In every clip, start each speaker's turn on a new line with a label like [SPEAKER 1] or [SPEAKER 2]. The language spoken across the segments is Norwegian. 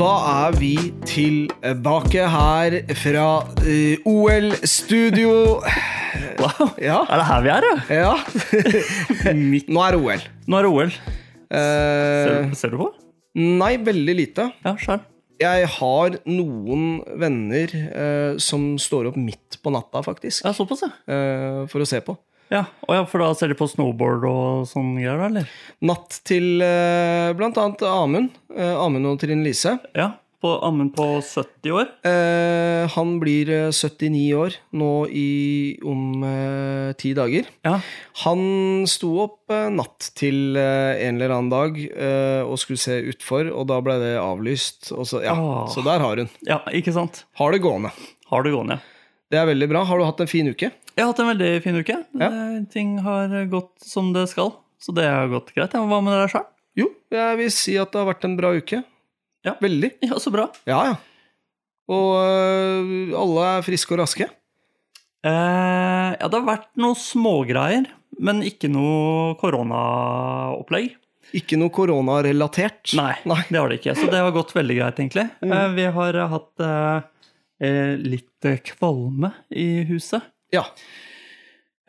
[SPEAKER 1] da er vi tilbake her fra eh, OL-studio.
[SPEAKER 2] Wow.
[SPEAKER 1] Ja.
[SPEAKER 2] Er det her vi er, ja?
[SPEAKER 1] Ja.
[SPEAKER 2] Midt.
[SPEAKER 1] Nå er det OL.
[SPEAKER 2] Nå er det OL. Ser,
[SPEAKER 1] Eh,
[SPEAKER 2] ser du på?
[SPEAKER 1] nei, veldig lite.
[SPEAKER 2] Ja, skjær.
[SPEAKER 1] Jeg har noen venner eh, som står opp midt på natta, faktisk,
[SPEAKER 2] Ja, såpass, ja.
[SPEAKER 1] eh, for å se på.
[SPEAKER 2] Ja. Å ja, for da ser de på snowboard og sånn greier, da, eller?
[SPEAKER 1] Natt til eh, blant annet Amund. Eh, Amund og Trine Lise.
[SPEAKER 2] Ja. På Amund på 70 år.
[SPEAKER 1] Eh, han blir eh, 79 år nå i om eh, ti dager.
[SPEAKER 2] Ja.
[SPEAKER 1] Han sto opp eh, natt til eh, en eller annen dag eh, og skulle se utfor, og da ble det avlyst. Og så, ja,
[SPEAKER 2] Åh.
[SPEAKER 1] så der har hun.
[SPEAKER 2] ja, ikke sant?
[SPEAKER 1] Har det gående.
[SPEAKER 2] Har det gående, ja.
[SPEAKER 1] Det er veldig bra. Har du hatt en fin uke?
[SPEAKER 2] Jeg har hatt en veldig fin uke. Eh, Ting har gått som det skal. Så det har gått greit. Ja, hva med deg sjøl?
[SPEAKER 1] Jo, jeg vil si at det har vært en bra uke.
[SPEAKER 2] Ja.
[SPEAKER 1] Veldig.
[SPEAKER 2] Ja, så bra.
[SPEAKER 1] Ja, ja. Og øh, alle er friske og raske.
[SPEAKER 2] Eh, ja, det har vært noe smågreier, men ikke noe koronaopplegg.
[SPEAKER 1] Ikke noe koronarelatert.
[SPEAKER 2] Nei, det har det ikke. Så det har gått veldig greit, egentlig.
[SPEAKER 1] Mm.
[SPEAKER 2] Eh, vi har eh, hatt eh, eh, litt eh, kvalme i huset.
[SPEAKER 1] Ja.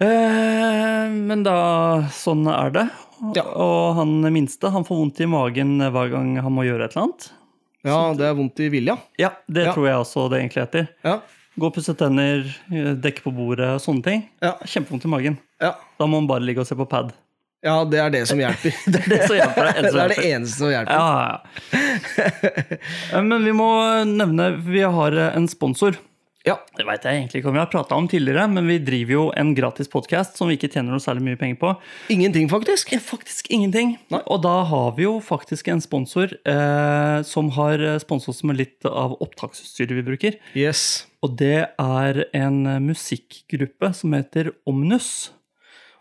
[SPEAKER 2] Eh, men da sånn er det.
[SPEAKER 1] Ja.
[SPEAKER 2] Og han minste, han får vondt i magen hver gang han må gjøre et eller annet.
[SPEAKER 1] ja, det er vondt i vilja.
[SPEAKER 2] Ja, det
[SPEAKER 1] Ja.
[SPEAKER 2] tror jeg også det egentlig heter.
[SPEAKER 1] Ja.
[SPEAKER 2] Gå og pusse tenner, eh, dekke på bordet, sånne ting.
[SPEAKER 1] Ja.
[SPEAKER 2] Kjempevondt i magen.
[SPEAKER 1] Ja.
[SPEAKER 2] Da må man bare ligge og se på pad.
[SPEAKER 1] ja, det er det som hjelper.
[SPEAKER 2] Det er det som hjelper deg.
[SPEAKER 1] det
[SPEAKER 2] enn så
[SPEAKER 1] er det
[SPEAKER 2] hjelper.
[SPEAKER 1] eneste som hjelper.
[SPEAKER 2] Ja, ja. Eh, Men vi må nevne Vi har eh, en sponsor.
[SPEAKER 1] Ja.
[SPEAKER 2] Det veit jeg egentlig ikke om vi har prata om tidligere, men vi driver jo en gratis podkast som vi ikke tjener noe særlig mye penger på.
[SPEAKER 1] Ingenting, faktisk.
[SPEAKER 2] Ja, Faktisk ingenting. Og da har vi jo faktisk en sponsor eh, som har sponset oss med litt av opptaksutstyret vi bruker.
[SPEAKER 1] Yes.
[SPEAKER 2] Og det er en musikkgruppe som heter Omnus.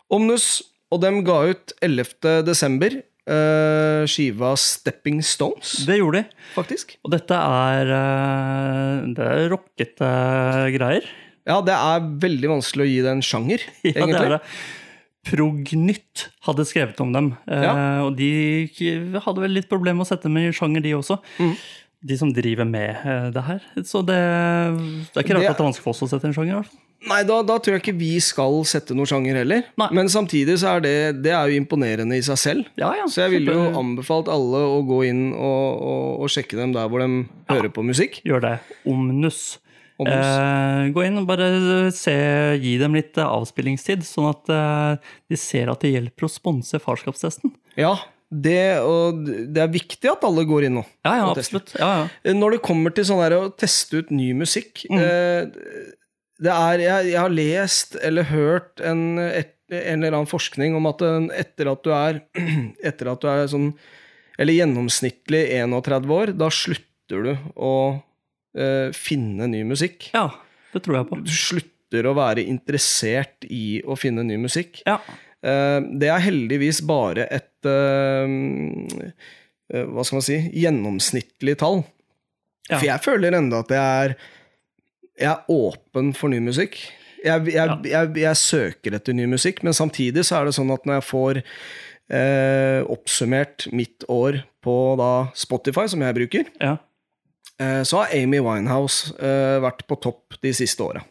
[SPEAKER 1] Omnus, og dem ga ut 11. desember øh, skiva Stepping Stones,
[SPEAKER 2] Det gjorde de.
[SPEAKER 1] faktisk.
[SPEAKER 2] Og dette er eh, Det er rockete greier.
[SPEAKER 1] Ja, det er veldig vanskelig å gi det en sjanger,
[SPEAKER 2] Ja, det er
[SPEAKER 1] egentlig.
[SPEAKER 2] det. Prognytt hadde skrevet om dem. eh,
[SPEAKER 1] Ja.
[SPEAKER 2] Og de k- hadde vel litt problemer med å sette dem i sjanger, de også.
[SPEAKER 1] Mhm.
[SPEAKER 2] De som driver med eh, det her. Så det, det er ikke rart
[SPEAKER 1] Det-
[SPEAKER 2] at det er vanskelig for oss å sette en sjanger. i hvert fall.
[SPEAKER 1] Nei, da, da tror jeg ikke vi skal sette noen sjanger heller.
[SPEAKER 2] Nei.
[SPEAKER 1] Men samtidig så er det, det er jo imponerende i seg selv.
[SPEAKER 2] Ja, ja.
[SPEAKER 1] Så jeg ville jo
[SPEAKER 2] Kjempe-
[SPEAKER 1] anbefalt alle å gå inn og, og, og sjekke dem der hvor de hører på musikk.
[SPEAKER 2] Gjør det. Omnus.
[SPEAKER 1] Omnus.
[SPEAKER 2] Eh, gå inn og bare se, gi dem litt eh, avspillingstid, sånn at eh, de ser at det hjelper å sponse farskapstesten.
[SPEAKER 1] Ja, det, og det er viktig at alle går inn nå.
[SPEAKER 2] Ja, ja,
[SPEAKER 1] Og tester.
[SPEAKER 2] absolutt. Ja, ja.
[SPEAKER 1] Eh, Når det kommer til sånn her å teste ut ny musikk eh, det er, jeg, jeg har lest eller hørt en, et, en eller annen forskning om at en- etter at du er, etter at du er sånn Eller gjennomsnittlig 31 år, da slutter du å eh, finne ny musikk.
[SPEAKER 2] ja, det tror jeg på.
[SPEAKER 1] Du slutter å være interessert i å finne ny musikk.
[SPEAKER 2] Ja.
[SPEAKER 1] Eh, Det er heldigvis bare et eh, eh, Hva skal man si gjennomsnittlig tall.
[SPEAKER 2] Ja.
[SPEAKER 1] For jeg føler enda at jeg er Jeg er åpen for ny musikk. Jeg, jeg,
[SPEAKER 2] Ja.
[SPEAKER 1] jeg, jeg søker etter ny musikk, men samtidig så er det sånn at når jeg får eh, oppsummert mitt år på da Spotify, som jeg bruker,
[SPEAKER 2] ja.
[SPEAKER 1] eh, så har Amy Winehouse eh, vært på topp de siste åra.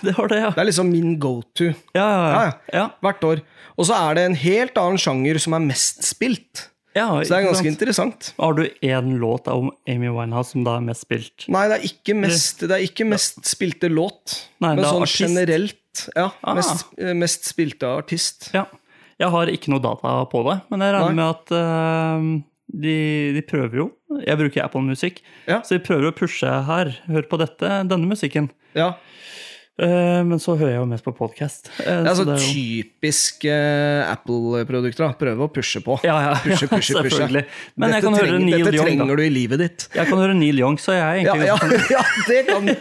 [SPEAKER 2] Det var det, ja.
[SPEAKER 1] Det er liksom min go to
[SPEAKER 2] Ja, ja,
[SPEAKER 1] Ja,
[SPEAKER 2] ja. ja.
[SPEAKER 1] hvert år. Og så er det en helt annen sjanger som er mest spilt.
[SPEAKER 2] ja
[SPEAKER 1] Så det er
[SPEAKER 2] ikke
[SPEAKER 1] ganske
[SPEAKER 2] sant?
[SPEAKER 1] interessant.
[SPEAKER 2] Har du én låt av Amy Winehouse som da er mest spilt?
[SPEAKER 1] Nei, det er ikke mest, det er ikke mest spilte låt,
[SPEAKER 2] Nei,
[SPEAKER 1] men
[SPEAKER 2] det er
[SPEAKER 1] sånn
[SPEAKER 2] artist.
[SPEAKER 1] generelt. Ja,
[SPEAKER 2] Ah.
[SPEAKER 1] mest, eh, mest spilte artist.
[SPEAKER 2] Ja. Jeg har ikke noe data på det, men jeg regner med at eh, de, de prøver jo. Jeg bruker Apple Music,
[SPEAKER 1] Ja.
[SPEAKER 2] så de prøver å pushe her. Hør på dette, denne musikken.
[SPEAKER 1] Ja,
[SPEAKER 2] Eh, men så hører jeg jo mest på Eh, podkast.
[SPEAKER 1] Det er så typisk eh, Apple-produkter. da. Prøve å pushe på.
[SPEAKER 2] ja, ja,
[SPEAKER 1] Pushe, pushe, pushe.
[SPEAKER 2] selvfølgelig. Men
[SPEAKER 1] dette
[SPEAKER 2] jeg kan høre
[SPEAKER 1] trenger,
[SPEAKER 2] Neil
[SPEAKER 1] dette
[SPEAKER 2] Young. Da.
[SPEAKER 1] trenger du i livet ditt.
[SPEAKER 2] Jeg kan høre Neil Young, så jeg er
[SPEAKER 1] Ja,
[SPEAKER 2] egentlig
[SPEAKER 1] ja, ja, det kan du.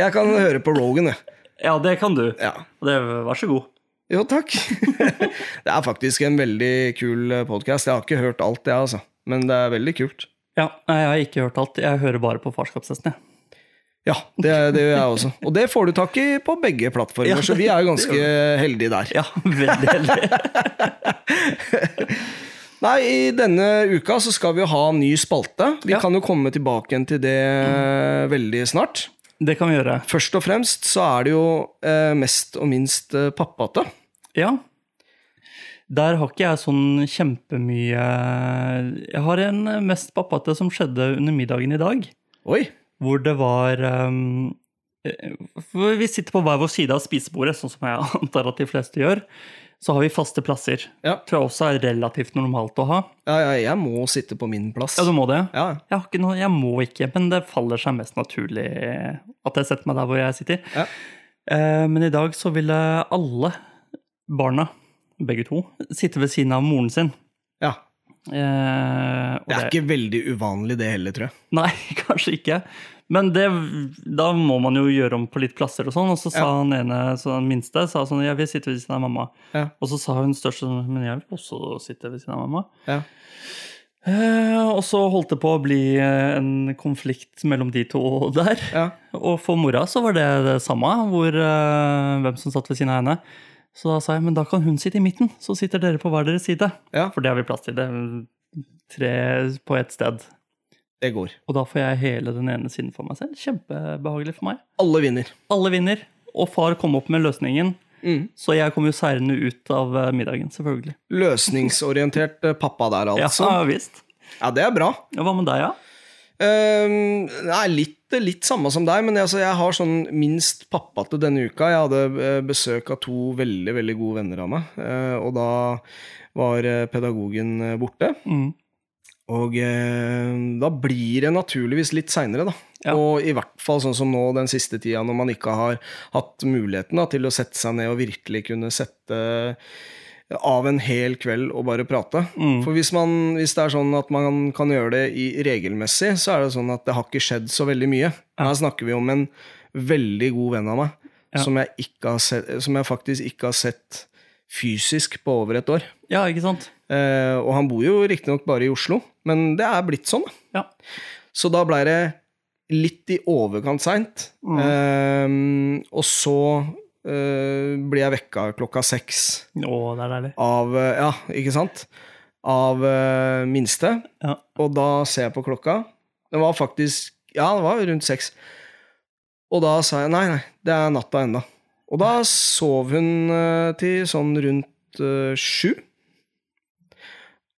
[SPEAKER 1] Jeg kan høre på Rogan, jeg.
[SPEAKER 2] Ja, det kan du.
[SPEAKER 1] Ja.
[SPEAKER 2] Og det, vær så god.
[SPEAKER 1] Jo, takk. Det er faktisk en veldig kul podkast. Jeg har ikke hørt alt, jeg, altså. Men det er veldig kult.
[SPEAKER 2] Ja, nei, jeg har ikke hørt alt. Jeg hører bare på Farskapshesten, jeg.
[SPEAKER 1] Ja, det, det gjør jeg også. Og det får du tak i på begge plattformer,
[SPEAKER 2] Ja,
[SPEAKER 1] så vi er jo
[SPEAKER 2] det
[SPEAKER 1] ganske heldige der.
[SPEAKER 2] Ja, veldig heldig.
[SPEAKER 1] Nei, i denne uka så skal vi jo ha en ny spalte. Vi
[SPEAKER 2] Ja.
[SPEAKER 1] kan jo komme tilbake igjen til det eh, veldig snart.
[SPEAKER 2] Det kan vi gjøre.
[SPEAKER 1] Først og fremst så er det jo eh, mest og minst eh, pappate.
[SPEAKER 2] Ja. Der har ikke jeg sånn kjempemye Jeg har en mest pappate som skjedde under middagen i dag.
[SPEAKER 1] Oi!
[SPEAKER 2] Hvor det var ehm, eh, for Vi sitter på hver vår side av spisebordet, sånn som jeg antar at de fleste gjør. Så har vi faste plasser.
[SPEAKER 1] Ja.
[SPEAKER 2] Tror jeg også er relativt normalt å ha.
[SPEAKER 1] Ja, ja, jeg må sitte på min plass.
[SPEAKER 2] Ja, du må det?
[SPEAKER 1] ja.
[SPEAKER 2] Jeg, har ikke noe, jeg må ikke, men det faller seg mest naturlig at jeg setter meg der hvor jeg sitter.
[SPEAKER 1] Ja.
[SPEAKER 2] Eh, men i dag så ville alle barna, begge to, sitte ved siden av moren sin.
[SPEAKER 1] ja.
[SPEAKER 2] Eh, og
[SPEAKER 1] Det er ikke veldig uvanlig det heller, tror jeg.
[SPEAKER 2] Nei, kanskje ikke. Men det, da må man jo gjøre om på litt plasser og sånn. Og så sa han ene, så den minste, sa sånn Jeg vil sitte ved siden av mamma.
[SPEAKER 1] Ja.
[SPEAKER 2] Og så sa hun største sånn Men jeg vil også sitte ved siden av mamma.
[SPEAKER 1] Ja.
[SPEAKER 2] Eh, og så holdt det på å bli eh, en konflikt mellom de to der.
[SPEAKER 1] Ja.
[SPEAKER 2] Og for mora så var det det samme, hvor, eh, hvem som satt ved siden av henne. Så da sa jeg, men da kan hun sitte i midten, så sitter dere på hver deres side.
[SPEAKER 1] Ja.
[SPEAKER 2] For det har vi plass til. Det er tre på ett sted.
[SPEAKER 1] Det går.
[SPEAKER 2] Og da får jeg hele den ene siden for meg selv. Kjempebehagelig for meg.
[SPEAKER 1] Alle vinner.
[SPEAKER 2] Alle vinner, og far kom opp med løsningen.
[SPEAKER 1] Mm.
[SPEAKER 2] Så jeg kom jo seirende ut av eh, middagen, selvfølgelig.
[SPEAKER 1] Løsningsorientert eh, pappa der,
[SPEAKER 2] Ja,
[SPEAKER 1] altså.
[SPEAKER 2] visst.
[SPEAKER 1] Ja, det er bra.
[SPEAKER 2] Ja, Hva med deg, da?
[SPEAKER 1] Um, nei, litt, litt samme som deg, men jeg, altså, jeg har sånn minst pappa til denne uka. Jeg hadde eh, besøk av to veldig veldig gode venner av meg, eh, og da var eh, pedagogen eh, borte.
[SPEAKER 2] Mm.
[SPEAKER 1] Og eh, da blir det naturligvis litt seinere, da.
[SPEAKER 2] Ja.
[SPEAKER 1] Og i hvert fall sånn som nå den siste tida, når man ikke har hatt muligheten da, til å sette seg ned og virkelig kunne sette av en hel kveld og bare prate.
[SPEAKER 2] Mm.
[SPEAKER 1] For hvis, man, hvis det er sånn at man kan gjøre det i, regelmessig, så er det sånn at det har ikke skjedd så veldig mye. Her snakker vi om en veldig god venn av meg,
[SPEAKER 2] Ja.
[SPEAKER 1] som, jeg ikke har sett, som jeg faktisk ikke har sett fysisk på over et år.
[SPEAKER 2] Ja, ikke sant?
[SPEAKER 1] Eh, og han bor jo riktignok bare i Oslo, men det er blitt sånn. da.
[SPEAKER 2] Ja.
[SPEAKER 1] Så da blei det litt i overkant seint. Eh, og så eh, blir jeg vekka klokka seks
[SPEAKER 2] Å, det er deilig.
[SPEAKER 1] av eh, Ja, ikke sant? Av eh, minste.
[SPEAKER 2] Ja.
[SPEAKER 1] Og da ser jeg på klokka. Det var faktisk Ja, det var rundt seks. Og da sa jeg nei, nei, det er natta enda. Og da sov hun eh, til sånn rundt eh, sju.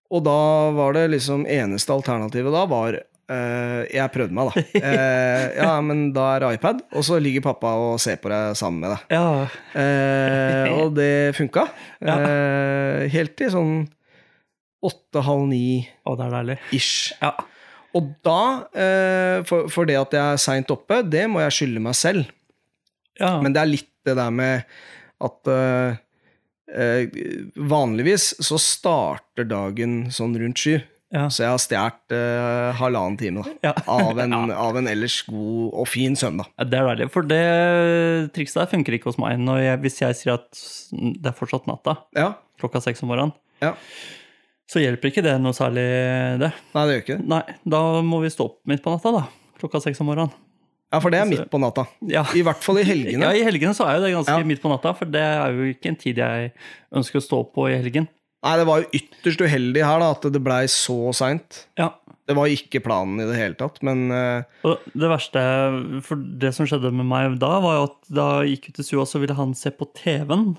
[SPEAKER 1] Og da var det liksom eneste alternativet da var eh, Jeg prøvde meg, da. Eh, ja, men da er det iPad, og så ligger pappa og ser på deg sammen med deg.
[SPEAKER 2] Ja.
[SPEAKER 1] Eh, og det funka. Eh, helt til sånn åtte-halv ni-ish.
[SPEAKER 2] Å, det er deilig. Ja.
[SPEAKER 1] Og da, eh, for, for det at jeg er seint oppe, det må jeg skylde meg selv.
[SPEAKER 2] ja.
[SPEAKER 1] Men det er litt det der med at eh, eh, Vanligvis så starter dagen sånn rundt sju.
[SPEAKER 2] Ja.
[SPEAKER 1] Så jeg har stjålet eh, halvannen time da,
[SPEAKER 2] Ja.
[SPEAKER 1] av, en, av en ellers god og fin søndag.
[SPEAKER 2] Ja, Det er deilig, for det trikset der funker ikke hos meg. Når jeg, hvis jeg sier at det er fortsatt natta,
[SPEAKER 1] Ja.
[SPEAKER 2] klokka seks om morgenen,
[SPEAKER 1] ja.
[SPEAKER 2] så hjelper ikke det noe særlig, det.
[SPEAKER 1] Nei, det gjør ikke det.
[SPEAKER 2] Nei, da må vi stå opp midt på natta, da. Klokka seks om morgenen.
[SPEAKER 1] Ja, for det er midt på natta.
[SPEAKER 2] Ja.
[SPEAKER 1] I hvert fall i helgene.
[SPEAKER 2] Ja, I helgene så er jo det ganske
[SPEAKER 1] Ja.
[SPEAKER 2] midt på natta, for det er jo ikke en tid jeg ønsker å stå opp på i helgen.
[SPEAKER 1] Nei, det var jo ytterst uheldig her da, at det blei så seint.
[SPEAKER 2] Ja,
[SPEAKER 1] Det var jo ikke planen i det hele tatt, men eh,
[SPEAKER 2] Og det verste, for det som skjedde med meg da, var jo at da jeg gikk ut til stua, så ville han se på TV-en.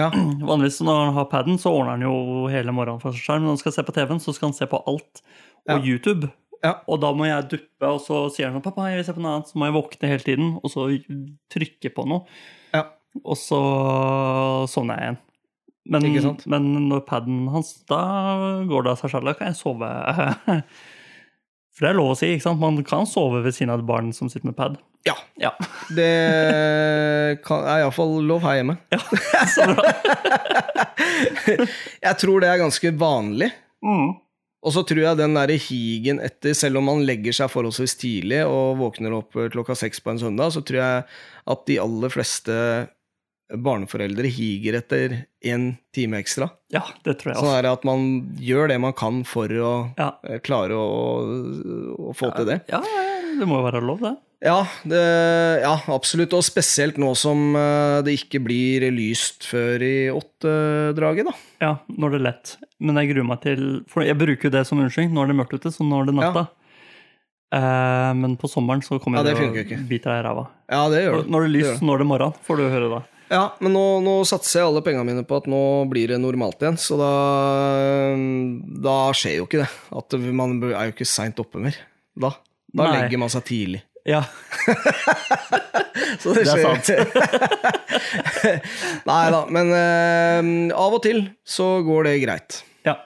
[SPEAKER 1] ja.
[SPEAKER 2] Vanligvis når han har paden, så ordner han jo hele morgenen for seg selv. Men når han skal se på TV-en, så skal han se på alt. Og YouTube.
[SPEAKER 1] Ja.
[SPEAKER 2] Og da må jeg duppe, og så sier han sånn 'Pappa, jeg vil se på noe annet.' Så må jeg våkne hele tiden, og så trykke på noe.
[SPEAKER 1] Ja.
[SPEAKER 2] Og så sovner jeg igjen. Men,
[SPEAKER 1] Ikke sant?
[SPEAKER 2] men når paden hans Da går det av seg sjøl. Da kan jeg sove. For det er lov å si, ikke sant? Man kan sove ved siden av et barn som sitter med pad.
[SPEAKER 1] ja.
[SPEAKER 2] Ja,
[SPEAKER 1] Det kan, er iallfall lov her hjemme.
[SPEAKER 2] så bra.
[SPEAKER 1] Jeg tror det er ganske vanlig.
[SPEAKER 2] Mm.
[SPEAKER 1] Og så tror jeg den der higen etter, selv om man legger seg forholdsvis tidlig og våkner opp klokka seks på en søndag, så tror jeg at de aller fleste barneforeldre higer etter én time ekstra.
[SPEAKER 2] Ja, det tror jeg
[SPEAKER 1] Sånn
[SPEAKER 2] også.
[SPEAKER 1] er det at man gjør det man kan for å
[SPEAKER 2] Ja.
[SPEAKER 1] eh, klare å, å få til det.
[SPEAKER 2] Ja, det må jo være lov, det.
[SPEAKER 1] Ja, det, ja, absolutt. Og spesielt nå som eh, det ikke blir lyst før i åttedraget, da.
[SPEAKER 2] Ja, når det er lett. men jeg gruer meg til For jeg bruker jo det som unnskyldning. Nå er det mørkt ute, så nå er det natta. Eh, men på sommeren så kommer
[SPEAKER 1] Ja, det
[SPEAKER 2] jeg
[SPEAKER 1] funker
[SPEAKER 2] til
[SPEAKER 1] ikke.
[SPEAKER 2] å bite deg i ræva.
[SPEAKER 1] Ja, det gjør det.
[SPEAKER 2] Når det er
[SPEAKER 1] gjør
[SPEAKER 2] lyst,
[SPEAKER 1] det.
[SPEAKER 2] nå er det morgen, får du høre da.
[SPEAKER 1] Ja, men nå, nå satser jeg alle pengene mine på at nå blir det normalt igjen, så da, eh, da skjer jo ikke det. At man er jo ikke seint oppe mer. Da, da
[SPEAKER 2] Nei.
[SPEAKER 1] legger man seg tidlig.
[SPEAKER 2] Ja,
[SPEAKER 1] Så
[SPEAKER 2] Det er
[SPEAKER 1] sant. Nei da, men eh, av og til så går det greit.
[SPEAKER 2] ja.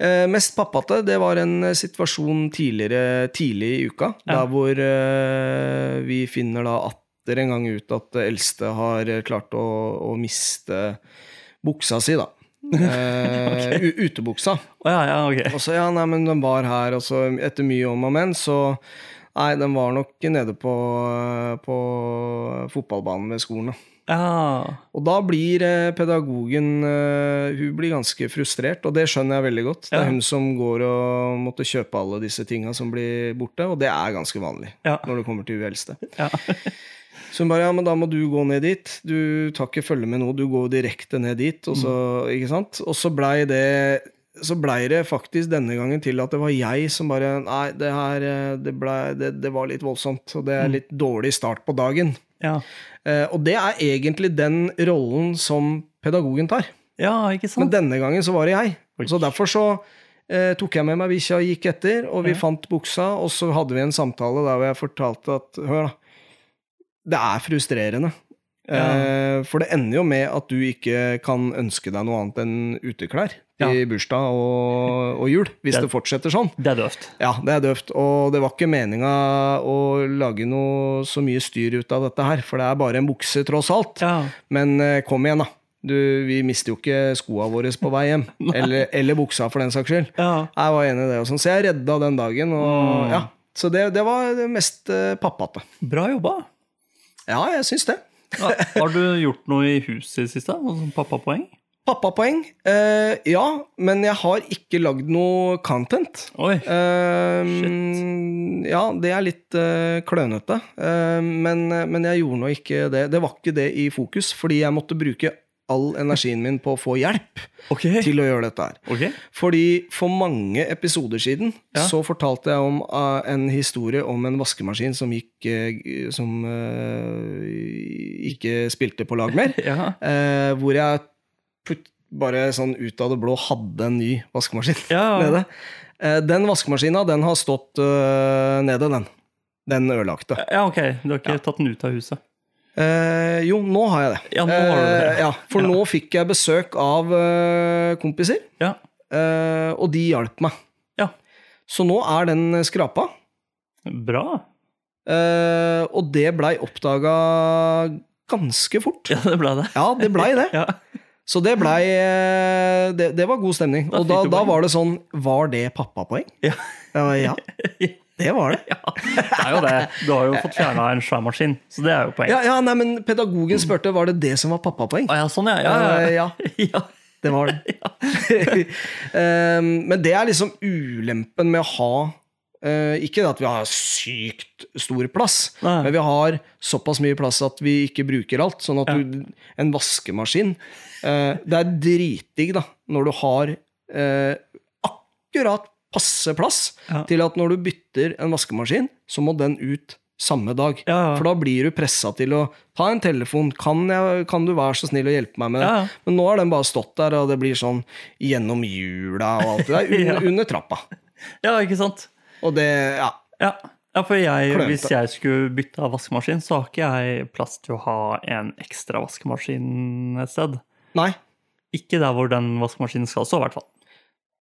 [SPEAKER 1] Eh, mest pappate, det var en eh, situasjon tidligere, tidlig i uka, der hvor eh, vi finner da atter en gang ut at det eldste har eh, klart å, å miste buksa si, da. Eh, u- Utebuksa.
[SPEAKER 2] Å ja, ja, ok.
[SPEAKER 1] Og så, ja, nei, men den var her, og så etter mye om og men, så Nei, den var nok nede på, eh, på fotballbanen ved skolen, da.
[SPEAKER 2] Ja.
[SPEAKER 1] Og da blir eh, pedagogen eh, Hun blir ganske frustrert, og det skjønner jeg veldig godt. Det
[SPEAKER 2] Ja.
[SPEAKER 1] er hun som går og måtte kjøpe alle disse tinga som blir borte, og det er ganske vanlig
[SPEAKER 2] Ja.
[SPEAKER 1] når det kommer til hun eldste.
[SPEAKER 2] ja.
[SPEAKER 1] Så hun bare ja, men da må du gå ned dit. Du tar ikke følge med nå, du går direkte ned dit. Og så,
[SPEAKER 2] Mm.
[SPEAKER 1] ikke sant? Og så blei det så blei det faktisk denne gangen til at det var jeg som bare Nei, det her eh, det, blei- det, det var litt voldsomt, og det
[SPEAKER 2] Mm.
[SPEAKER 1] er litt dårlig start på dagen.
[SPEAKER 2] Ja.
[SPEAKER 1] Eh, og det er egentlig den rollen som pedagogen tar.
[SPEAKER 2] ja, ikke
[SPEAKER 1] Men
[SPEAKER 2] sant?
[SPEAKER 1] denne gangen så var det jeg.
[SPEAKER 2] Oi.
[SPEAKER 1] Så derfor så eh, tok jeg med meg bikkja og gikk etter, og vi fant buksa, og så hadde vi en samtale der hvor jeg fortalte at Hør, da. Det er frustrerende.
[SPEAKER 2] Ja.
[SPEAKER 1] Eh, for det ender jo med at du ikke kan ønske deg noe annet enn uteklær til bursdag og, og jul, hvis
[SPEAKER 2] Det-
[SPEAKER 1] det fortsetter sånn.
[SPEAKER 2] Det er døvt.
[SPEAKER 1] Ja, det er døvt. Og det var ikke meninga å lage noe så mye styr ut av dette her, for det er bare en bukse, tross alt.
[SPEAKER 2] Ja.
[SPEAKER 1] Men eh, kom igjen, da. Du, vi mister jo ikke skoa våre på vei hjem. eller, eller buksa, for den saks skyld.
[SPEAKER 2] Ja.
[SPEAKER 1] Jeg var enig i det. og sånn, Så jeg redda den dagen. Og, ja. Så det, det var det mest eh, pappate.
[SPEAKER 2] Bra jobba.
[SPEAKER 1] Ja, jeg syns det.
[SPEAKER 2] Ja. Har du gjort noe i huset i det siste? Og sånn Pappapoeng?
[SPEAKER 1] Pappapoeng. Eh, ja, men jeg har ikke lagd noe content.
[SPEAKER 2] Oi.
[SPEAKER 1] Ehm, ja, det er litt eh, klønete. Ehm, men, men jeg gjorde nå ikke det. Det var ikke det i fokus, fordi jeg måtte bruke all energien min på å få hjelp
[SPEAKER 2] Ok.
[SPEAKER 1] til å gjøre dette her.
[SPEAKER 2] Ok.
[SPEAKER 1] Fordi for mange episoder siden
[SPEAKER 2] Ja.
[SPEAKER 1] så fortalte jeg om eh, en historie om en vaskemaskin som gikk eh, Som eh, ikke spilte på lag mer.
[SPEAKER 2] Ja.
[SPEAKER 1] Eh, hvor jeg plut- bare sånn ut av det blå hadde en ny vaskemaskin
[SPEAKER 2] Ja.
[SPEAKER 1] nede. Eh, den vaskemaskina, den har stått eh, nede, den. Den ødelagte.
[SPEAKER 2] Ja, ok. Du har ikke tatt den ut av huset?
[SPEAKER 1] Eh, jo, nå har jeg det.
[SPEAKER 2] Ja, nå har du det.
[SPEAKER 1] Eh, ja, for nå fikk jeg besøk av eh, kompiser,
[SPEAKER 2] Ja.
[SPEAKER 1] eh, og de hjalp meg.
[SPEAKER 2] Ja.
[SPEAKER 1] Så nå er den skrapa,
[SPEAKER 2] Bra.
[SPEAKER 1] eh, og det blei oppdaga ganske fort.
[SPEAKER 2] Ja, det ble det.
[SPEAKER 1] Ja, det blei det.
[SPEAKER 2] Ja.
[SPEAKER 1] Så det blei eh, det, det var god stemning.
[SPEAKER 2] Da
[SPEAKER 1] og da,
[SPEAKER 2] fikk du
[SPEAKER 1] da
[SPEAKER 2] poeng.
[SPEAKER 1] var det sånn Var det pappapoeng?
[SPEAKER 2] Ja.
[SPEAKER 1] Jeg var, ja, det var det.
[SPEAKER 2] ja. Det er jo det. Du har jo fått fjerna en svær maskin, så det er jo poenget.
[SPEAKER 1] Ja, ja, nei, men Pedagogen spurte var det det som var pappapoeng.
[SPEAKER 2] Å ja, sånn, ja. Ja,
[SPEAKER 1] Eh,
[SPEAKER 2] ja.
[SPEAKER 1] ja
[SPEAKER 2] ja.
[SPEAKER 1] det var det. Ehm, men det er liksom ulempen med å ha eh, Ikke at vi har sykt stor plass,
[SPEAKER 2] Nei.
[SPEAKER 1] men vi har såpass mye plass at vi ikke bruker alt. Sånn at du, en vaskemaskin eh, Det er dritdigg da, når du har eh, akkurat passe plass
[SPEAKER 2] Ja.
[SPEAKER 1] til at når du bytter en vaskemaskin, så må den ut samme dag.
[SPEAKER 2] Ja, ja.
[SPEAKER 1] For da blir du pressa til å ta en telefon. Kan, jeg, 'Kan du være så snill å hjelpe meg med det?'
[SPEAKER 2] Ja, ja.
[SPEAKER 1] Men nå har den bare stått der, og det blir sånn gjennom jula og alt det der. Under,
[SPEAKER 2] Ja.
[SPEAKER 1] under trappa.
[SPEAKER 2] ja ikke sant?
[SPEAKER 1] Og det Ja.
[SPEAKER 2] Ja. ja, for jeg,
[SPEAKER 1] Klønete.
[SPEAKER 2] hvis jeg skulle bytte av vaskemaskin, så har ikke jeg plass til å ha en ekstra vaskemaskin et sted.
[SPEAKER 1] Nei.
[SPEAKER 2] Ikke der hvor den vaskemaskinen skal stå, i hvert fall.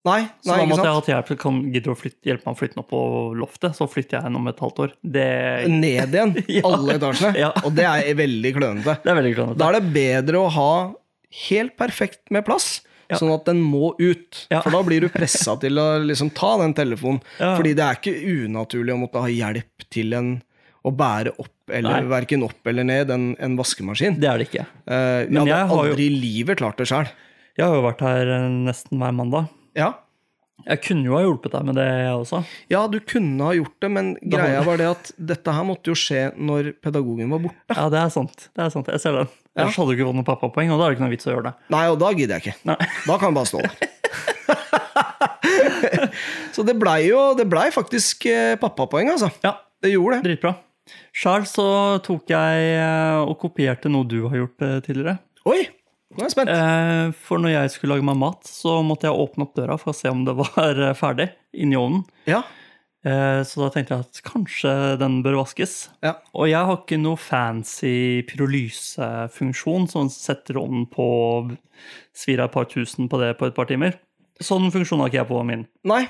[SPEAKER 1] Nei,
[SPEAKER 2] Så
[SPEAKER 1] nei
[SPEAKER 2] da
[SPEAKER 1] ikke
[SPEAKER 2] måtte jeg
[SPEAKER 1] sant?
[SPEAKER 2] hatt hjelp til kan gidde å flytte, hjelpe meg å flytte den opp på loftet, så flytter jeg den om et halvt år. Det,
[SPEAKER 1] Ned igjen,
[SPEAKER 2] Ja.
[SPEAKER 1] alle etasjene.
[SPEAKER 2] Ja.
[SPEAKER 1] Og det er veldig klønete.
[SPEAKER 2] det er veldig klønete.
[SPEAKER 1] Da er det bedre å ha helt perfekt med plass,
[SPEAKER 2] Ja.
[SPEAKER 1] sånn at den må ut.
[SPEAKER 2] Ja.
[SPEAKER 1] For da blir du pressa til å liksom ta den telefonen.
[SPEAKER 2] Ja.
[SPEAKER 1] Fordi det er ikke unaturlig å måtte ha hjelp til en å bære opp eller verken opp eller ned en, en vaskemaskin.
[SPEAKER 2] Det er det ikke.
[SPEAKER 1] Eh, jeg
[SPEAKER 2] Men
[SPEAKER 1] hadde
[SPEAKER 2] jeg har jo-
[SPEAKER 1] aldri i livet klart det sjøl.
[SPEAKER 2] Jeg har jo vært her eh, nesten hver mandag.
[SPEAKER 1] Ja.
[SPEAKER 2] Jeg kunne jo ha hjulpet deg med det, jeg også.
[SPEAKER 1] ja, du kunne ha gjort det, men
[SPEAKER 2] Da var
[SPEAKER 1] greia
[SPEAKER 2] det-
[SPEAKER 1] var det at dette her måtte jo skje når pedagogen var borte.
[SPEAKER 2] Ja, det er sant. Det er sant. Jeg ser den. Ellers hadde du ikke fått noen pappapoeng, og da er det ikke noe vits å gjøre det.
[SPEAKER 1] Nei, og da gidder jeg ikke.
[SPEAKER 2] Nei.
[SPEAKER 1] Da kan jeg bare stå der. Så det blei jo det blei faktisk eh, pappapoeng, altså.
[SPEAKER 2] Ja,
[SPEAKER 1] Det gjorde det.
[SPEAKER 2] dritbra. Sjøl så tok jeg eh, og kopierte noe du har gjort eh, tidligere.
[SPEAKER 1] Oi! Nå er jeg spent.
[SPEAKER 2] Eh, For når jeg skulle lage meg mat, så måtte jeg åpne opp døra for å se om det var eh, ferdig inni ovnen.
[SPEAKER 1] Ja.
[SPEAKER 2] Eh, Så da tenkte jeg at kanskje den bør vaskes.
[SPEAKER 1] ja.
[SPEAKER 2] Og jeg har ikke noe fancy pyrolysefunksjon som setter ovnen på svir av et par tusen på det på et par timer. Sånn funksjon har ikke jeg på min.
[SPEAKER 1] Nei.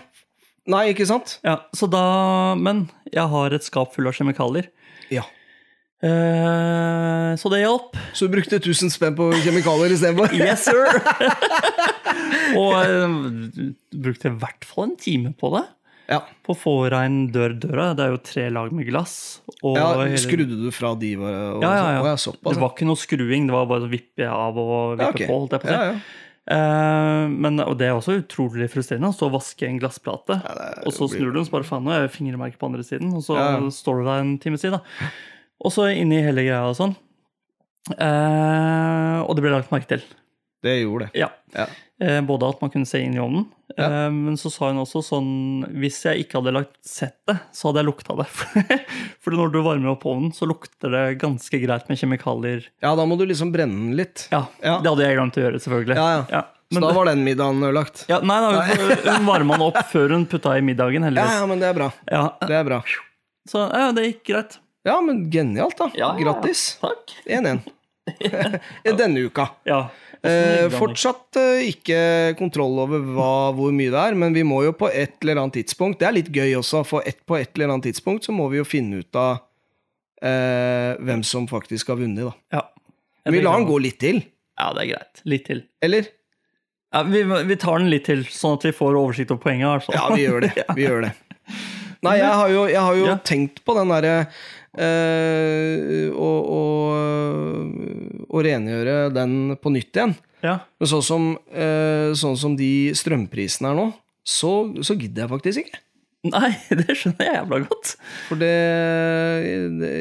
[SPEAKER 1] Nei, ikke sant?
[SPEAKER 2] Ja, så da, Men jeg har et skap fullt av kjemikalier.
[SPEAKER 1] Ja.
[SPEAKER 2] Eh, så det hjalp.
[SPEAKER 1] Så du brukte 1000 spenn på kjemikalier istedenfor?
[SPEAKER 2] Yes, sir! og eh, brukte i hvert fall en time på det.
[SPEAKER 1] Ja.
[SPEAKER 2] På å få rein dør døra. Det er jo tre lag med glass. Og
[SPEAKER 1] ja.
[SPEAKER 2] hele-
[SPEAKER 1] Skrudde du fra de var og,
[SPEAKER 2] ja, ja, ja.
[SPEAKER 1] Å, ja, såpass.
[SPEAKER 2] Det var ikke noe skruing, det var bare å vippe av og vippe
[SPEAKER 1] Ja, ok.
[SPEAKER 2] på. holdt jeg på å si.
[SPEAKER 1] Ja, ja.
[SPEAKER 2] Eh, men, og det er også utrolig frustrerende å stå og vaske en glassplate,
[SPEAKER 1] det er-
[SPEAKER 2] og så snur du den, så bare faen, nå er det fingermerke på andre siden, og så
[SPEAKER 1] Ja, ja.
[SPEAKER 2] står du der en times tid, da. Og så inn i hele greia og sånn. Eh, og det ble lagt merke til.
[SPEAKER 1] Det gjorde det.
[SPEAKER 2] Ja.
[SPEAKER 1] Ja.
[SPEAKER 2] Eh, både at man kunne se inn i ovnen,
[SPEAKER 1] Ja.
[SPEAKER 2] eh, men så sa hun også sånn Hvis jeg ikke hadde lagt sett det, så hadde jeg lukta det. For når du varmer opp ovnen, så lukter det ganske greit med kjemikalier.
[SPEAKER 1] Ja, da må du liksom brenne den litt.
[SPEAKER 2] Ja,
[SPEAKER 1] Ja.
[SPEAKER 2] Det hadde jeg glemt å gjøre, selvfølgelig.
[SPEAKER 1] Ja, ja. Så
[SPEAKER 2] Men
[SPEAKER 1] da
[SPEAKER 2] det-
[SPEAKER 1] var den middagen ødelagt.
[SPEAKER 2] Ja, nei, da, hun- hun varma den opp før hun putta i middagen,
[SPEAKER 1] Ja,
[SPEAKER 2] heldigvis.
[SPEAKER 1] ja, men det er bra.
[SPEAKER 2] Ja,
[SPEAKER 1] Det er bra.
[SPEAKER 2] så ja, det gikk greit.
[SPEAKER 1] Ja, men genialt, da.
[SPEAKER 2] Ja, ja, ja.
[SPEAKER 1] Grattis.
[SPEAKER 2] Takk.
[SPEAKER 1] 1-1. Denne uka.
[SPEAKER 2] Ja.
[SPEAKER 1] Eh, fortsatt eh, ikke kontroll over hva, hvor mye det er, men vi må jo på et eller annet tidspunkt Det er litt gøy også, for et, på et eller annet tidspunkt så må vi jo finne ut av eh, hvem som faktisk har vunnet, da.
[SPEAKER 2] Ja.
[SPEAKER 1] Vi lar den gå litt til,
[SPEAKER 2] Ja, det er greit. Litt til.
[SPEAKER 1] eller?
[SPEAKER 2] Ja, vi, vi tar den litt til, sånn at vi får oversikt over poenget. Altså.
[SPEAKER 1] Ja, vi gjør det. Vi gjør det. Nei, jeg har jo, jeg har jo
[SPEAKER 2] Ja.
[SPEAKER 1] tenkt på den derre eh, å, å, å rengjøre den på nytt igjen.
[SPEAKER 2] Ja.
[SPEAKER 1] Men sånn som, eh, sånn som de strømprisene er nå, så, så gidder jeg faktisk ikke.
[SPEAKER 2] Nei, det skjønner jeg jævla godt.
[SPEAKER 1] For det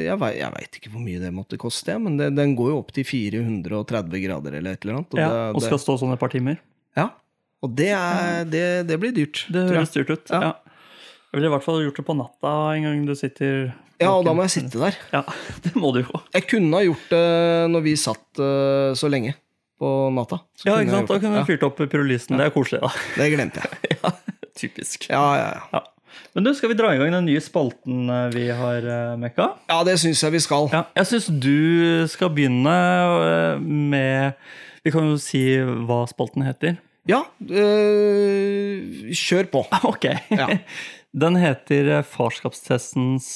[SPEAKER 1] Jeg, vei- jeg veit ikke hvor mye det måtte koste, jeg, men det, den går jo opp til 430 grader eller et eller annet. Og,
[SPEAKER 2] Ja,
[SPEAKER 1] det,
[SPEAKER 2] og skal stå sånn et par timer.
[SPEAKER 1] det, ja. og det, er, det, det blir dyrt.
[SPEAKER 2] Det
[SPEAKER 1] tror jeg.
[SPEAKER 2] høres styrt ut.
[SPEAKER 1] Ja.
[SPEAKER 2] Ja. Jeg ville i hvert fall gjort det på natta en gang du sitter
[SPEAKER 1] Ja, og da må jeg sitte der.
[SPEAKER 2] Ja, det må du jo.
[SPEAKER 1] Jeg kunne ha gjort det når vi satt eh, så lenge på natta. Så kunne
[SPEAKER 2] Ja,
[SPEAKER 1] jeg
[SPEAKER 2] ikke sant? Da
[SPEAKER 1] gjort det.
[SPEAKER 2] kunne du fyrt opp pyrolysen. Det er koselig, da.
[SPEAKER 1] Ja, det glemte jeg.
[SPEAKER 2] Typisk.
[SPEAKER 1] Ja, ja, ja.
[SPEAKER 2] Ja. Men du, skal vi dra i gang den nye spalten eh, vi har eh, mekka?
[SPEAKER 1] ja det syns jeg vi skal.
[SPEAKER 2] Ja, jeg syns du skal begynne eh, med Vi kan jo si hva spalten heter.
[SPEAKER 1] Ja, eh, kjør på.
[SPEAKER 2] Ah, Ok.
[SPEAKER 1] Ja.
[SPEAKER 2] Den heter eh, Farskapstestens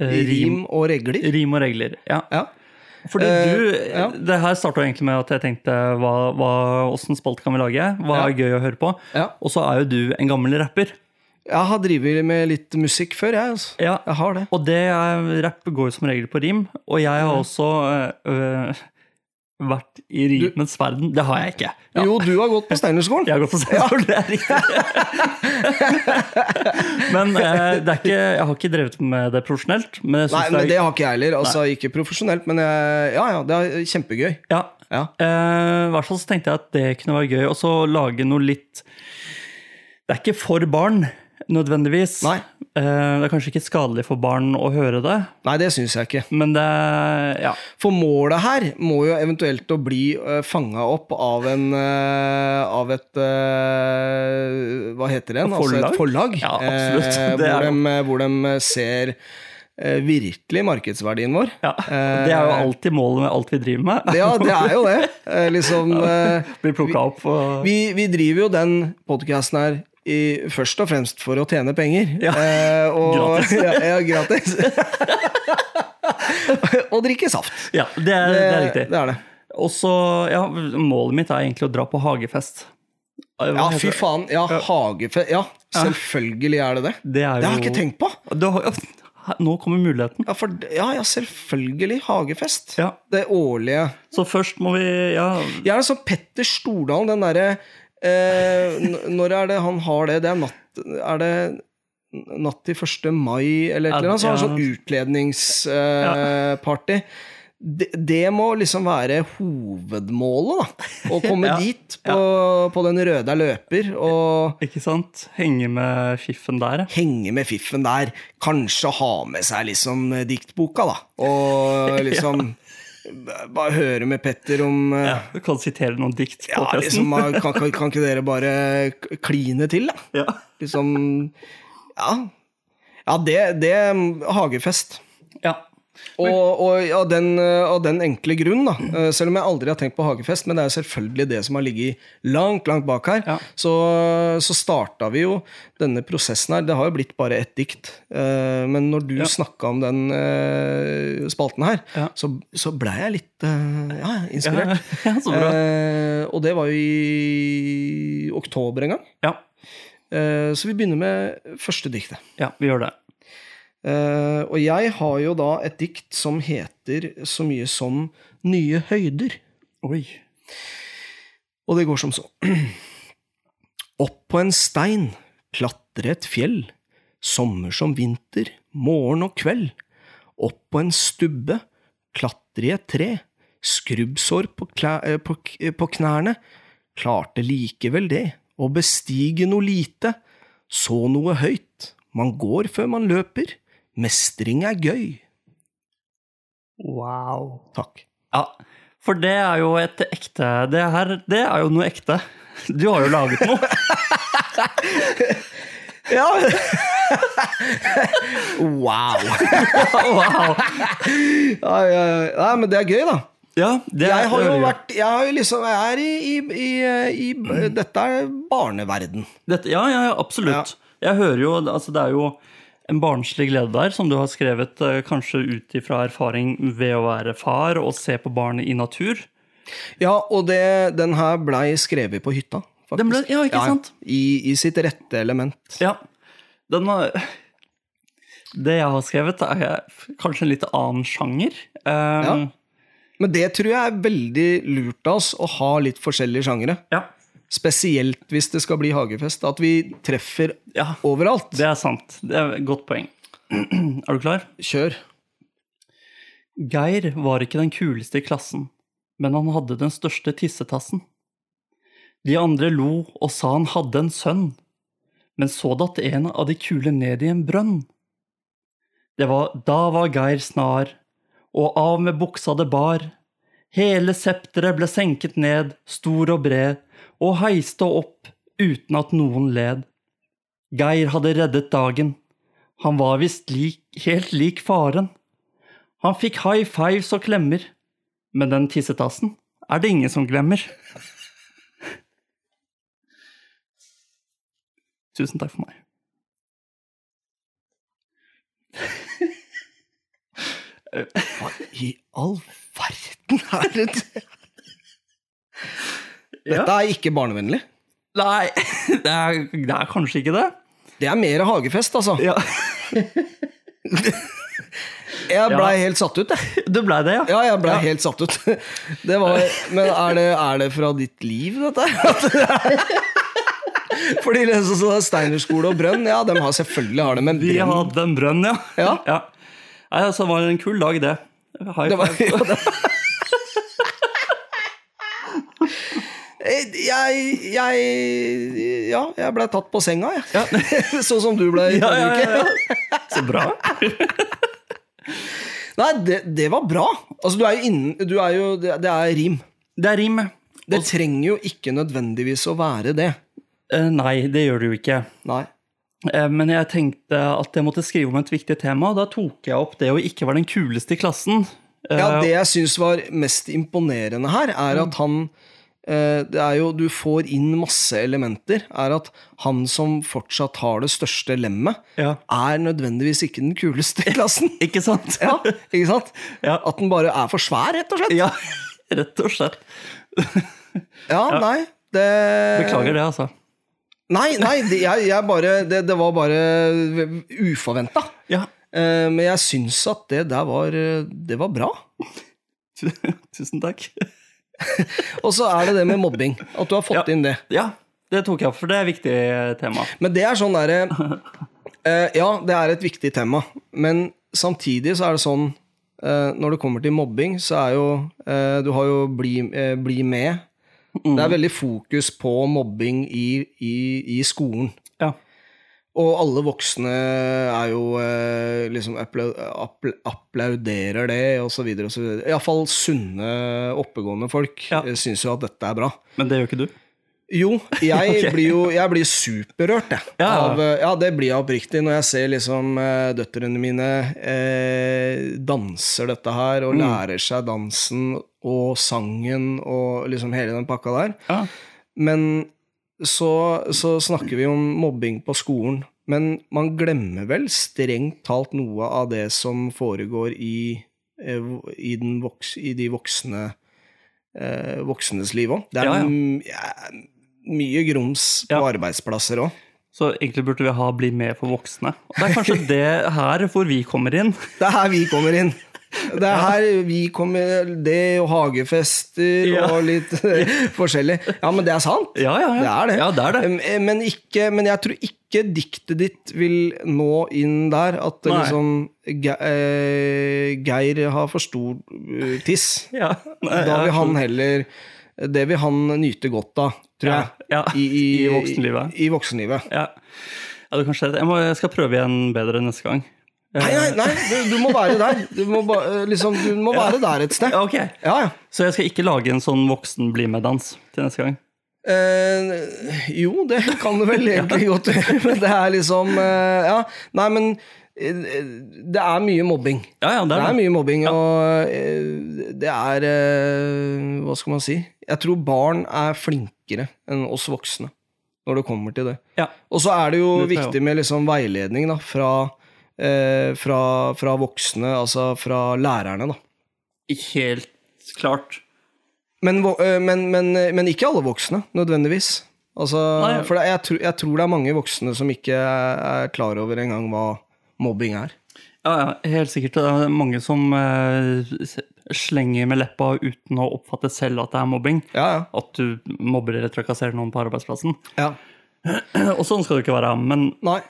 [SPEAKER 2] eh, rim,
[SPEAKER 1] Rim og regler.
[SPEAKER 2] rim og regler. Ja.
[SPEAKER 1] Ja.
[SPEAKER 2] Fordi
[SPEAKER 1] Eh,
[SPEAKER 2] du,
[SPEAKER 1] ja.
[SPEAKER 2] Det her starta egentlig med at jeg tenkte hva, hva, åssen spalte kan vi lage? Hva er gøy å høre på?
[SPEAKER 1] Ja.
[SPEAKER 2] Og så er jo du en gammel rapper.
[SPEAKER 1] Jeg har drevet med litt musikk før, jeg. Altså.
[SPEAKER 2] Ja,
[SPEAKER 1] Jeg har det.
[SPEAKER 2] Og det er, rapp går jo som regel på rim, og jeg har også øh, øh, vært i rimens verden. Det har jeg ikke. Ja.
[SPEAKER 1] Jo, du har gått på Steinerskolen.
[SPEAKER 2] Jeg har gått på sensor, det er riktig. men øh, det er ikke, jeg har ikke drevet med det profesjonelt. Men jeg
[SPEAKER 1] Nei,
[SPEAKER 2] synes
[SPEAKER 1] men
[SPEAKER 2] det
[SPEAKER 1] det
[SPEAKER 2] er,
[SPEAKER 1] har ikke jeg heller. Altså, ikke profesjonelt, men jeg, ja, ja, det er kjempegøy.
[SPEAKER 2] ja,
[SPEAKER 1] Ja.
[SPEAKER 2] øh, I hvert fall så tenkte jeg at det kunne være gøy. Og så lage noe litt Det er ikke for barn, nødvendigvis.
[SPEAKER 1] Nei.
[SPEAKER 2] Eh, det er kanskje ikke skadelig for barn å høre det,
[SPEAKER 1] Nei, det syns jeg ikke.
[SPEAKER 2] men det Ja.
[SPEAKER 1] For målet her må jo eventuelt å bli uh, fanga opp av en eh, Av et eh, Hva heter det? Altså
[SPEAKER 2] Forlag?
[SPEAKER 1] et forlag.
[SPEAKER 2] Ja, absolutt.
[SPEAKER 1] eh,
[SPEAKER 2] Det
[SPEAKER 1] hvor,
[SPEAKER 2] er-
[SPEAKER 1] de, hvor de ser eh, virkelig markedsverdien vår. Eh,
[SPEAKER 2] Ja, og Det er jo alltid målet med alt vi driver med.
[SPEAKER 1] Ja, det er jo det. Eh, liksom eh,
[SPEAKER 2] Blir plukka opp og
[SPEAKER 1] Vi, vi driver jo den podkasten her i, først og fremst for å tjene penger.
[SPEAKER 2] Ja.
[SPEAKER 1] Eh, og,
[SPEAKER 2] Gratis.
[SPEAKER 1] Ja, ja, gratis. og drikke saft. Eh,
[SPEAKER 2] Ja, det er, det er riktig.
[SPEAKER 1] Det er det.
[SPEAKER 2] Og så, ja, målet mitt er egentlig å dra på hagefest. Hva
[SPEAKER 1] Ja,
[SPEAKER 2] heter
[SPEAKER 1] fy
[SPEAKER 2] det?
[SPEAKER 1] faen. Ja, hagefe... Ja, selvfølgelig er det det.
[SPEAKER 2] Det er jo
[SPEAKER 1] Det har jeg ikke tenkt på.
[SPEAKER 2] Du har, nå kommer muligheten.
[SPEAKER 1] Ja, for, ja, ja selvfølgelig. Hagefest.
[SPEAKER 2] Ja.
[SPEAKER 1] Det årlige.
[SPEAKER 2] Så først må vi Ja,
[SPEAKER 1] Jeg er en sånn Petter Stordalen, den derre eh, n- Når er det han har det? Det er natt Er det natt til 1. mai, eller et
[SPEAKER 2] Ja,
[SPEAKER 1] eller annet? Så har han
[SPEAKER 2] ja.
[SPEAKER 1] sånn utledningsparty. Eh, party. det, det må liksom være hovedmålet, da. Å komme
[SPEAKER 2] Ja,
[SPEAKER 1] dit på, på den røde løper og
[SPEAKER 2] Ikke sant? Henge med fiffen der, ja.
[SPEAKER 1] henge med fiffen der. Kanskje ha med seg liksom diktboka, da. Og liksom bare høre med Petter om eh,
[SPEAKER 2] ja. Du kan sitere noen dikt på
[SPEAKER 1] Ja, liksom,
[SPEAKER 2] festen.
[SPEAKER 1] man- kan, kan, kan ikke dere bare k- kline til, da?
[SPEAKER 2] Ja.
[SPEAKER 1] Liksom Ja. Ja, det, det Hagefest.
[SPEAKER 2] ja.
[SPEAKER 1] Og, og av, den, eh, av den enkle grunn, da, eh, selv om jeg aldri har tenkt på hagefest, men det er jo selvfølgelig det som har ligget langt langt bak her,
[SPEAKER 2] Ja.
[SPEAKER 1] så, så starta vi jo denne prosessen her. Det har jo blitt bare ett dikt, eh, men når du
[SPEAKER 2] Ja.
[SPEAKER 1] snakka om den eh, spalten her,
[SPEAKER 2] Ja.
[SPEAKER 1] så, så blei jeg litt eh, ja,
[SPEAKER 2] Ja,
[SPEAKER 1] inspirert.
[SPEAKER 2] ja, så bra.
[SPEAKER 1] Eh, og det var jo i oktober en gang.
[SPEAKER 2] Ja.
[SPEAKER 1] Eh, så vi begynner med første diktet.
[SPEAKER 2] ja, vi gjør det.
[SPEAKER 1] Eh, og jeg har jo da et dikt som heter så mye som Nye høyder.
[SPEAKER 2] Oi.
[SPEAKER 1] Og det går som så. Opp på en stein, klatre et fjell. Sommer som vinter, morgen og kveld. Opp på en stubbe, klatre i et tre. Skrubbsår på, klæ, eh, på, k- eh, på knærne. Klarte likevel det, å bestige noe lite. Så noe høyt. Man går før man løper. Mestring er gøy.
[SPEAKER 2] Wow.
[SPEAKER 1] Takk.
[SPEAKER 2] Ja, for det er jo et ekte Det her, det er jo noe ekte. Du har jo laget noe.
[SPEAKER 1] Ja. wow.
[SPEAKER 2] Wow.
[SPEAKER 1] Ja, ja, ja. Nei, men det er gøy, da.
[SPEAKER 2] Ja, det er-
[SPEAKER 1] Jeg har jo
[SPEAKER 2] hører jeg.
[SPEAKER 1] vært Jeg, har jo liksom, jeg er i, i, i, i Dette er barneverden.
[SPEAKER 2] Dette, ja, ja, ja, absolutt. Jeg hører jo Altså, det er jo en barnslig glede der, som du har skrevet eh, kanskje ut ifra erfaring ved å være far og se på barnet i natur.
[SPEAKER 1] Ja, og det, den her blei skrevet på hytta. faktisk.
[SPEAKER 2] Den ble- ja, ikke sant?
[SPEAKER 1] I, I sitt rette element.
[SPEAKER 2] Ja. Den var Det jeg har skrevet, er kanskje en litt annen sjanger. Eh,
[SPEAKER 1] Men det tror jeg er veldig lurt av oss, å ha litt forskjellige sjangere.
[SPEAKER 2] ja.
[SPEAKER 1] Spesielt hvis det skal bli hagefest. At vi treffer
[SPEAKER 2] Ja.
[SPEAKER 1] overalt.
[SPEAKER 2] Det er sant. Det er et godt poeng. Er du klar?
[SPEAKER 1] Kjør.
[SPEAKER 2] Geir var ikke den kuleste i klassen, men han hadde den største tissetassen. De andre lo og sa han hadde en sønn, men så datt en av de kule ned i en brønn. Det var, da var Geir snar, og av med buksa det bar. Hele septeret ble senket ned, stor og bred, og heiste opp uten at noen led. Geir hadde reddet dagen, han var visst lik, helt lik faren. Han fikk high fives og klemmer. Men den tissetassen er det ingen som glemmer. Tusen takk for meg.
[SPEAKER 1] Hva i all verden er det Dette er ikke barnevennlig.
[SPEAKER 2] Nei, det er, det er kanskje ikke det.
[SPEAKER 1] Det er mer hagefest, altså.
[SPEAKER 2] Ja.
[SPEAKER 1] Jeg blei
[SPEAKER 2] Ja.
[SPEAKER 1] helt satt ut, jeg.
[SPEAKER 2] Det blei det, ja.
[SPEAKER 1] Ja, jeg blei helt satt ut. Det var, men er det, er det fra ditt liv, dette her? At det er- Fordi liksom så Steiner skole og Brønn, ja, de har selvfølgelig har det, men
[SPEAKER 2] Vi
[SPEAKER 1] Brønn
[SPEAKER 2] hadde en brønn, ja.
[SPEAKER 1] Ja.
[SPEAKER 2] Nei, altså, det var en kul dag, det. High
[SPEAKER 1] det var,
[SPEAKER 2] five.
[SPEAKER 1] ja, det. Jeg, jeg Ja, jeg blei tatt på senga, jeg. Sånn som du blei.
[SPEAKER 2] Ja, ja, ja, ja. Så bra.
[SPEAKER 1] Nei, det, det var bra. Altså, du er jo innen du er jo, det, det er rim.
[SPEAKER 2] Det er rim.
[SPEAKER 1] Det trenger jo ikke nødvendigvis å være det.
[SPEAKER 2] Eh, Nei, det gjør det jo ikke.
[SPEAKER 1] Nei.
[SPEAKER 2] Eh, Men jeg tenkte at jeg måtte skrive om et viktig tema, og da tok jeg opp det å ikke være den kuleste i klassen. Eh, Mm.
[SPEAKER 1] Ja, det jeg syns var mest imponerende her, er at han eh, Det er jo Du får inn masse elementer. Er at han som fortsatt har det største lemmet,
[SPEAKER 2] Ja.
[SPEAKER 1] er nødvendigvis ikke den kuleste i klassen.
[SPEAKER 2] Ikke sant?
[SPEAKER 1] Ja, ikke sant?
[SPEAKER 2] Ja.
[SPEAKER 1] At den bare er for svær, rett og slett.
[SPEAKER 2] Ja, rett og slett.
[SPEAKER 1] Ja, nei, det
[SPEAKER 2] Beklager det, altså.
[SPEAKER 1] Nei, nei, det, jeg, jeg bare Det, det var bare uforventa.
[SPEAKER 2] Ja,
[SPEAKER 1] Eh, Men jeg syns at det der var eh, Det var bra.
[SPEAKER 2] tu- tusen takk.
[SPEAKER 1] Og så er det det med mobbing. At du har fått
[SPEAKER 2] Ja.
[SPEAKER 1] inn det.
[SPEAKER 2] Ja, det tok jeg opp, for det er et viktig tema.
[SPEAKER 1] Men det er sånn derre eh, Ja, det er et viktig tema. Men samtidig så er det sånn eh, når det kommer til mobbing, så er jo eh, Du har jo Bli, eh, bli med.
[SPEAKER 2] Mm.
[SPEAKER 1] Det er veldig fokus på mobbing i, i, i skolen.
[SPEAKER 2] Ja.
[SPEAKER 1] Og alle voksne er jo eh, liksom appla- appla- applauderer det, og så videre og så videre. Iallfall sunne, oppegående folk
[SPEAKER 2] Ja.
[SPEAKER 1] eh, syns jo at dette er bra.
[SPEAKER 2] Men det gjør ikke du?
[SPEAKER 1] Jo, jeg
[SPEAKER 2] Ok.
[SPEAKER 1] blir jo jeg blir superrørt, jeg.
[SPEAKER 2] Ja.
[SPEAKER 1] Av, eh, ja, det blir jeg oppriktig når jeg ser liksom eh, døtrene mine eh, danser dette her,
[SPEAKER 2] Mm.
[SPEAKER 1] og lærer seg dansen og sangen og liksom hele den pakka der.
[SPEAKER 2] Ja.
[SPEAKER 1] Men så, så snakker vi om mobbing på skolen, men man glemmer vel strengt talt noe av det som foregår i, eh, vo- i, den voks, i de voksne eh, voksnes liv òg. Det er
[SPEAKER 2] Ja, ja.
[SPEAKER 1] m- ja, mye grums på
[SPEAKER 2] Ja.
[SPEAKER 1] arbeidsplasser òg.
[SPEAKER 2] Så egentlig burde vi ha Bli med for voksne. Og det er kanskje det her hvor vi kommer inn.
[SPEAKER 1] Det er her vi kommer inn. Det er her vi kommer Det og hagefester
[SPEAKER 2] Ja.
[SPEAKER 1] og litt forskjellig. Ja, men det er sant.
[SPEAKER 2] Ja, ja, ja.
[SPEAKER 1] Det er det.
[SPEAKER 2] Ja, det er det.
[SPEAKER 1] Um, eh, Men, ikke, men jeg tror ikke diktet ditt vil nå inn der. At det
[SPEAKER 2] Nei.
[SPEAKER 1] liksom Ge- eh, Geir har for stor eh, tiss.
[SPEAKER 2] Ja. Nei,
[SPEAKER 1] Da
[SPEAKER 2] Eh, ja.
[SPEAKER 1] vil han heller Det vil han nyte godt av, tror
[SPEAKER 2] Ja,
[SPEAKER 1] jeg.
[SPEAKER 2] ja. I voksenlivet.
[SPEAKER 1] I, i voksenlivet.
[SPEAKER 2] Ja. ja, du kan se det. Jeg, må, jeg skal prøve igjen bedre neste gang.
[SPEAKER 1] Nei, nei, nei du, du må være der. Du må, ba, eh, liksom, du må være der et sted.
[SPEAKER 2] Ja, ok.
[SPEAKER 1] Ja, ja.
[SPEAKER 2] Så jeg skal ikke lage en sånn voksen bli med-dans til neste gang?
[SPEAKER 1] Eh, jo, det kan du vel egentlig godt gjøre, men det er liksom eh, Ja. Nei, men eh, det er mye mobbing.
[SPEAKER 2] Ja, ja, det
[SPEAKER 1] Det
[SPEAKER 2] er
[SPEAKER 1] er
[SPEAKER 2] det.
[SPEAKER 1] mye mobbing, og eh, det er eh, Hva skal man si? Jeg tror barn er flinkere enn oss voksne når det kommer til det.
[SPEAKER 2] Ja.
[SPEAKER 1] Og så er det jo
[SPEAKER 2] Det tror jeg
[SPEAKER 1] viktig med liksom veiledning da, fra, eh, fra, fra voksne, altså fra lærerne, da.
[SPEAKER 2] Helt klart.
[SPEAKER 1] Men, vo- eh, men, men, men ikke alle voksne, nødvendigvis. Altså,
[SPEAKER 2] Nei.
[SPEAKER 1] for det- jeg, tror- jeg tror det er mange voksne som ikke er klar over engang hva mobbing er.
[SPEAKER 2] Ja, ja, helt sikkert. Det er mange som eh, slenger med leppa uten å oppfatte selv at det er mobbing.
[SPEAKER 1] Ja, ja.
[SPEAKER 2] At du mobber eller trakasserer noen på arbeidsplassen.
[SPEAKER 1] ja.
[SPEAKER 2] Og sånn skal det ikke være. Men,
[SPEAKER 1] Nei.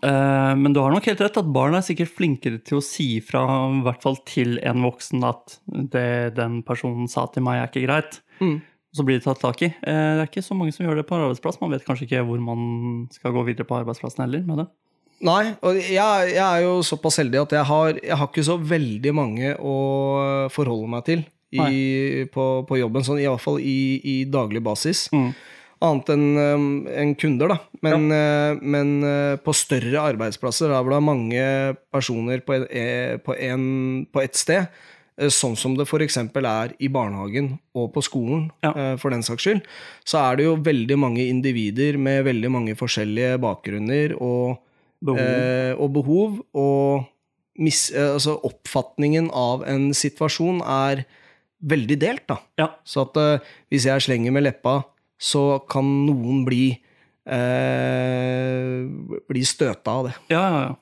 [SPEAKER 2] eh, men du har nok helt rett at barn er sikkert flinkere til å si fra, i hvert fall til en voksen, at det den personen sa til meg, er ikke greit.
[SPEAKER 1] Mm.
[SPEAKER 2] Så blir det tatt tak i. Eh, det er ikke så mange som gjør det på arbeidsplass. Man vet kanskje ikke hvor man skal gå videre på arbeidsplassen heller med det.
[SPEAKER 1] Nei, og jeg, jeg er jo såpass heldig at jeg har, jeg har ikke så veldig mange å forholde meg til i, på, på jobben, sånn, i hvert fall i, i daglig basis.
[SPEAKER 2] Mm.
[SPEAKER 1] Annet enn um, enn kunder, da. Men, eh, men eh, på større arbeidsplasser, der hvor det er mange personer på, en, eh, på, en, på ett sted, eh, sånn som det f.eks. er i barnehagen og på skolen,
[SPEAKER 2] Ja.
[SPEAKER 1] eh, for den saks skyld, så er det jo veldig mange individer med veldig mange forskjellige bakgrunner og
[SPEAKER 2] Behov.
[SPEAKER 1] eh, og behov, og mis, eh, altså oppfatningen av en situasjon er veldig delt, da.
[SPEAKER 2] Ja.
[SPEAKER 1] Så at eh, hvis jeg slenger med leppa, så kan noen bli eh, bli støta av det.
[SPEAKER 2] ja, ja, ja.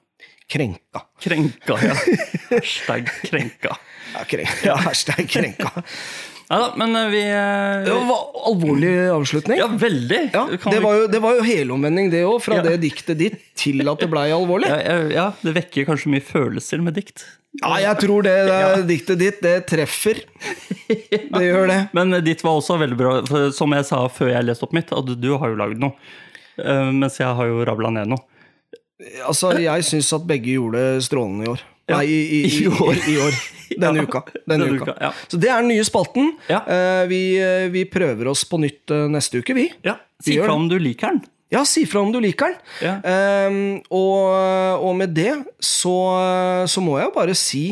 [SPEAKER 1] Krenka.
[SPEAKER 2] Krenka, ja. Hashtag krenka.
[SPEAKER 1] Ja, krenka. Ja. Hashtag krenka.
[SPEAKER 2] Nei da, men eh, vi
[SPEAKER 1] Det
[SPEAKER 2] eh,
[SPEAKER 1] var alvorlig avslutning.
[SPEAKER 2] Ja, veldig!
[SPEAKER 1] Ja,
[SPEAKER 2] Kan
[SPEAKER 1] det,
[SPEAKER 2] vi-
[SPEAKER 1] var jo, det var jo helomvending, det òg, fra
[SPEAKER 2] Ja.
[SPEAKER 1] det diktet ditt til at det blei alvorlig.
[SPEAKER 2] ja, ja, ja, det vekker kanskje mye følelser med dikt.
[SPEAKER 1] Ja, jeg tror det, det diktet ditt, det treffer. Det gjør det.
[SPEAKER 2] Men eh, ditt var også veldig bra, for som jeg sa før jeg leste opp mitt, at du har jo lagd noe. Eh, Mens jeg har jo rabla ned noe.
[SPEAKER 1] Altså, jeg syns at begge gjorde det strålende i år. Nei, i, i, i,
[SPEAKER 2] I år.
[SPEAKER 1] i år. Denne
[SPEAKER 2] Ja.
[SPEAKER 1] uka. Denne
[SPEAKER 2] Denne
[SPEAKER 1] uka.
[SPEAKER 2] uka, ja.
[SPEAKER 1] Så det er den nye spalten.
[SPEAKER 2] Ja.
[SPEAKER 1] Eh, vi, eh, vi prøver oss på nytt eh, neste uke, vi.
[SPEAKER 2] Ja, Si
[SPEAKER 1] Gjør
[SPEAKER 2] fra
[SPEAKER 1] det.
[SPEAKER 2] om du liker den.
[SPEAKER 1] Ja, si fra om du liker den.
[SPEAKER 2] Ja.
[SPEAKER 1] Eh, og, og med det så, så må jeg jo bare si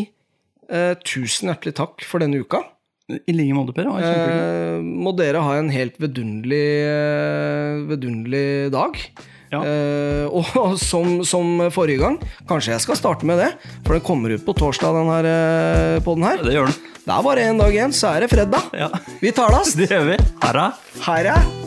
[SPEAKER 1] eh, tusen hjertelig takk for denne uka.
[SPEAKER 2] I like måte, Per. det var kjempehyggelig.
[SPEAKER 1] Eh, må dere ha en helt vedunderlig, eh, vedunderlig dag.
[SPEAKER 2] Ja.
[SPEAKER 1] Eh, og som, som forrige gang, kanskje jeg skal starte med det, for den kommer ut på torsdag, den her, eh, podden
[SPEAKER 2] Ja,
[SPEAKER 1] her.
[SPEAKER 2] det gjør den.
[SPEAKER 1] Det er bare én dag igjen, så er det fredag.
[SPEAKER 2] Ja.
[SPEAKER 1] Vi talast!
[SPEAKER 2] Det gjør vi. Her er
[SPEAKER 1] Her er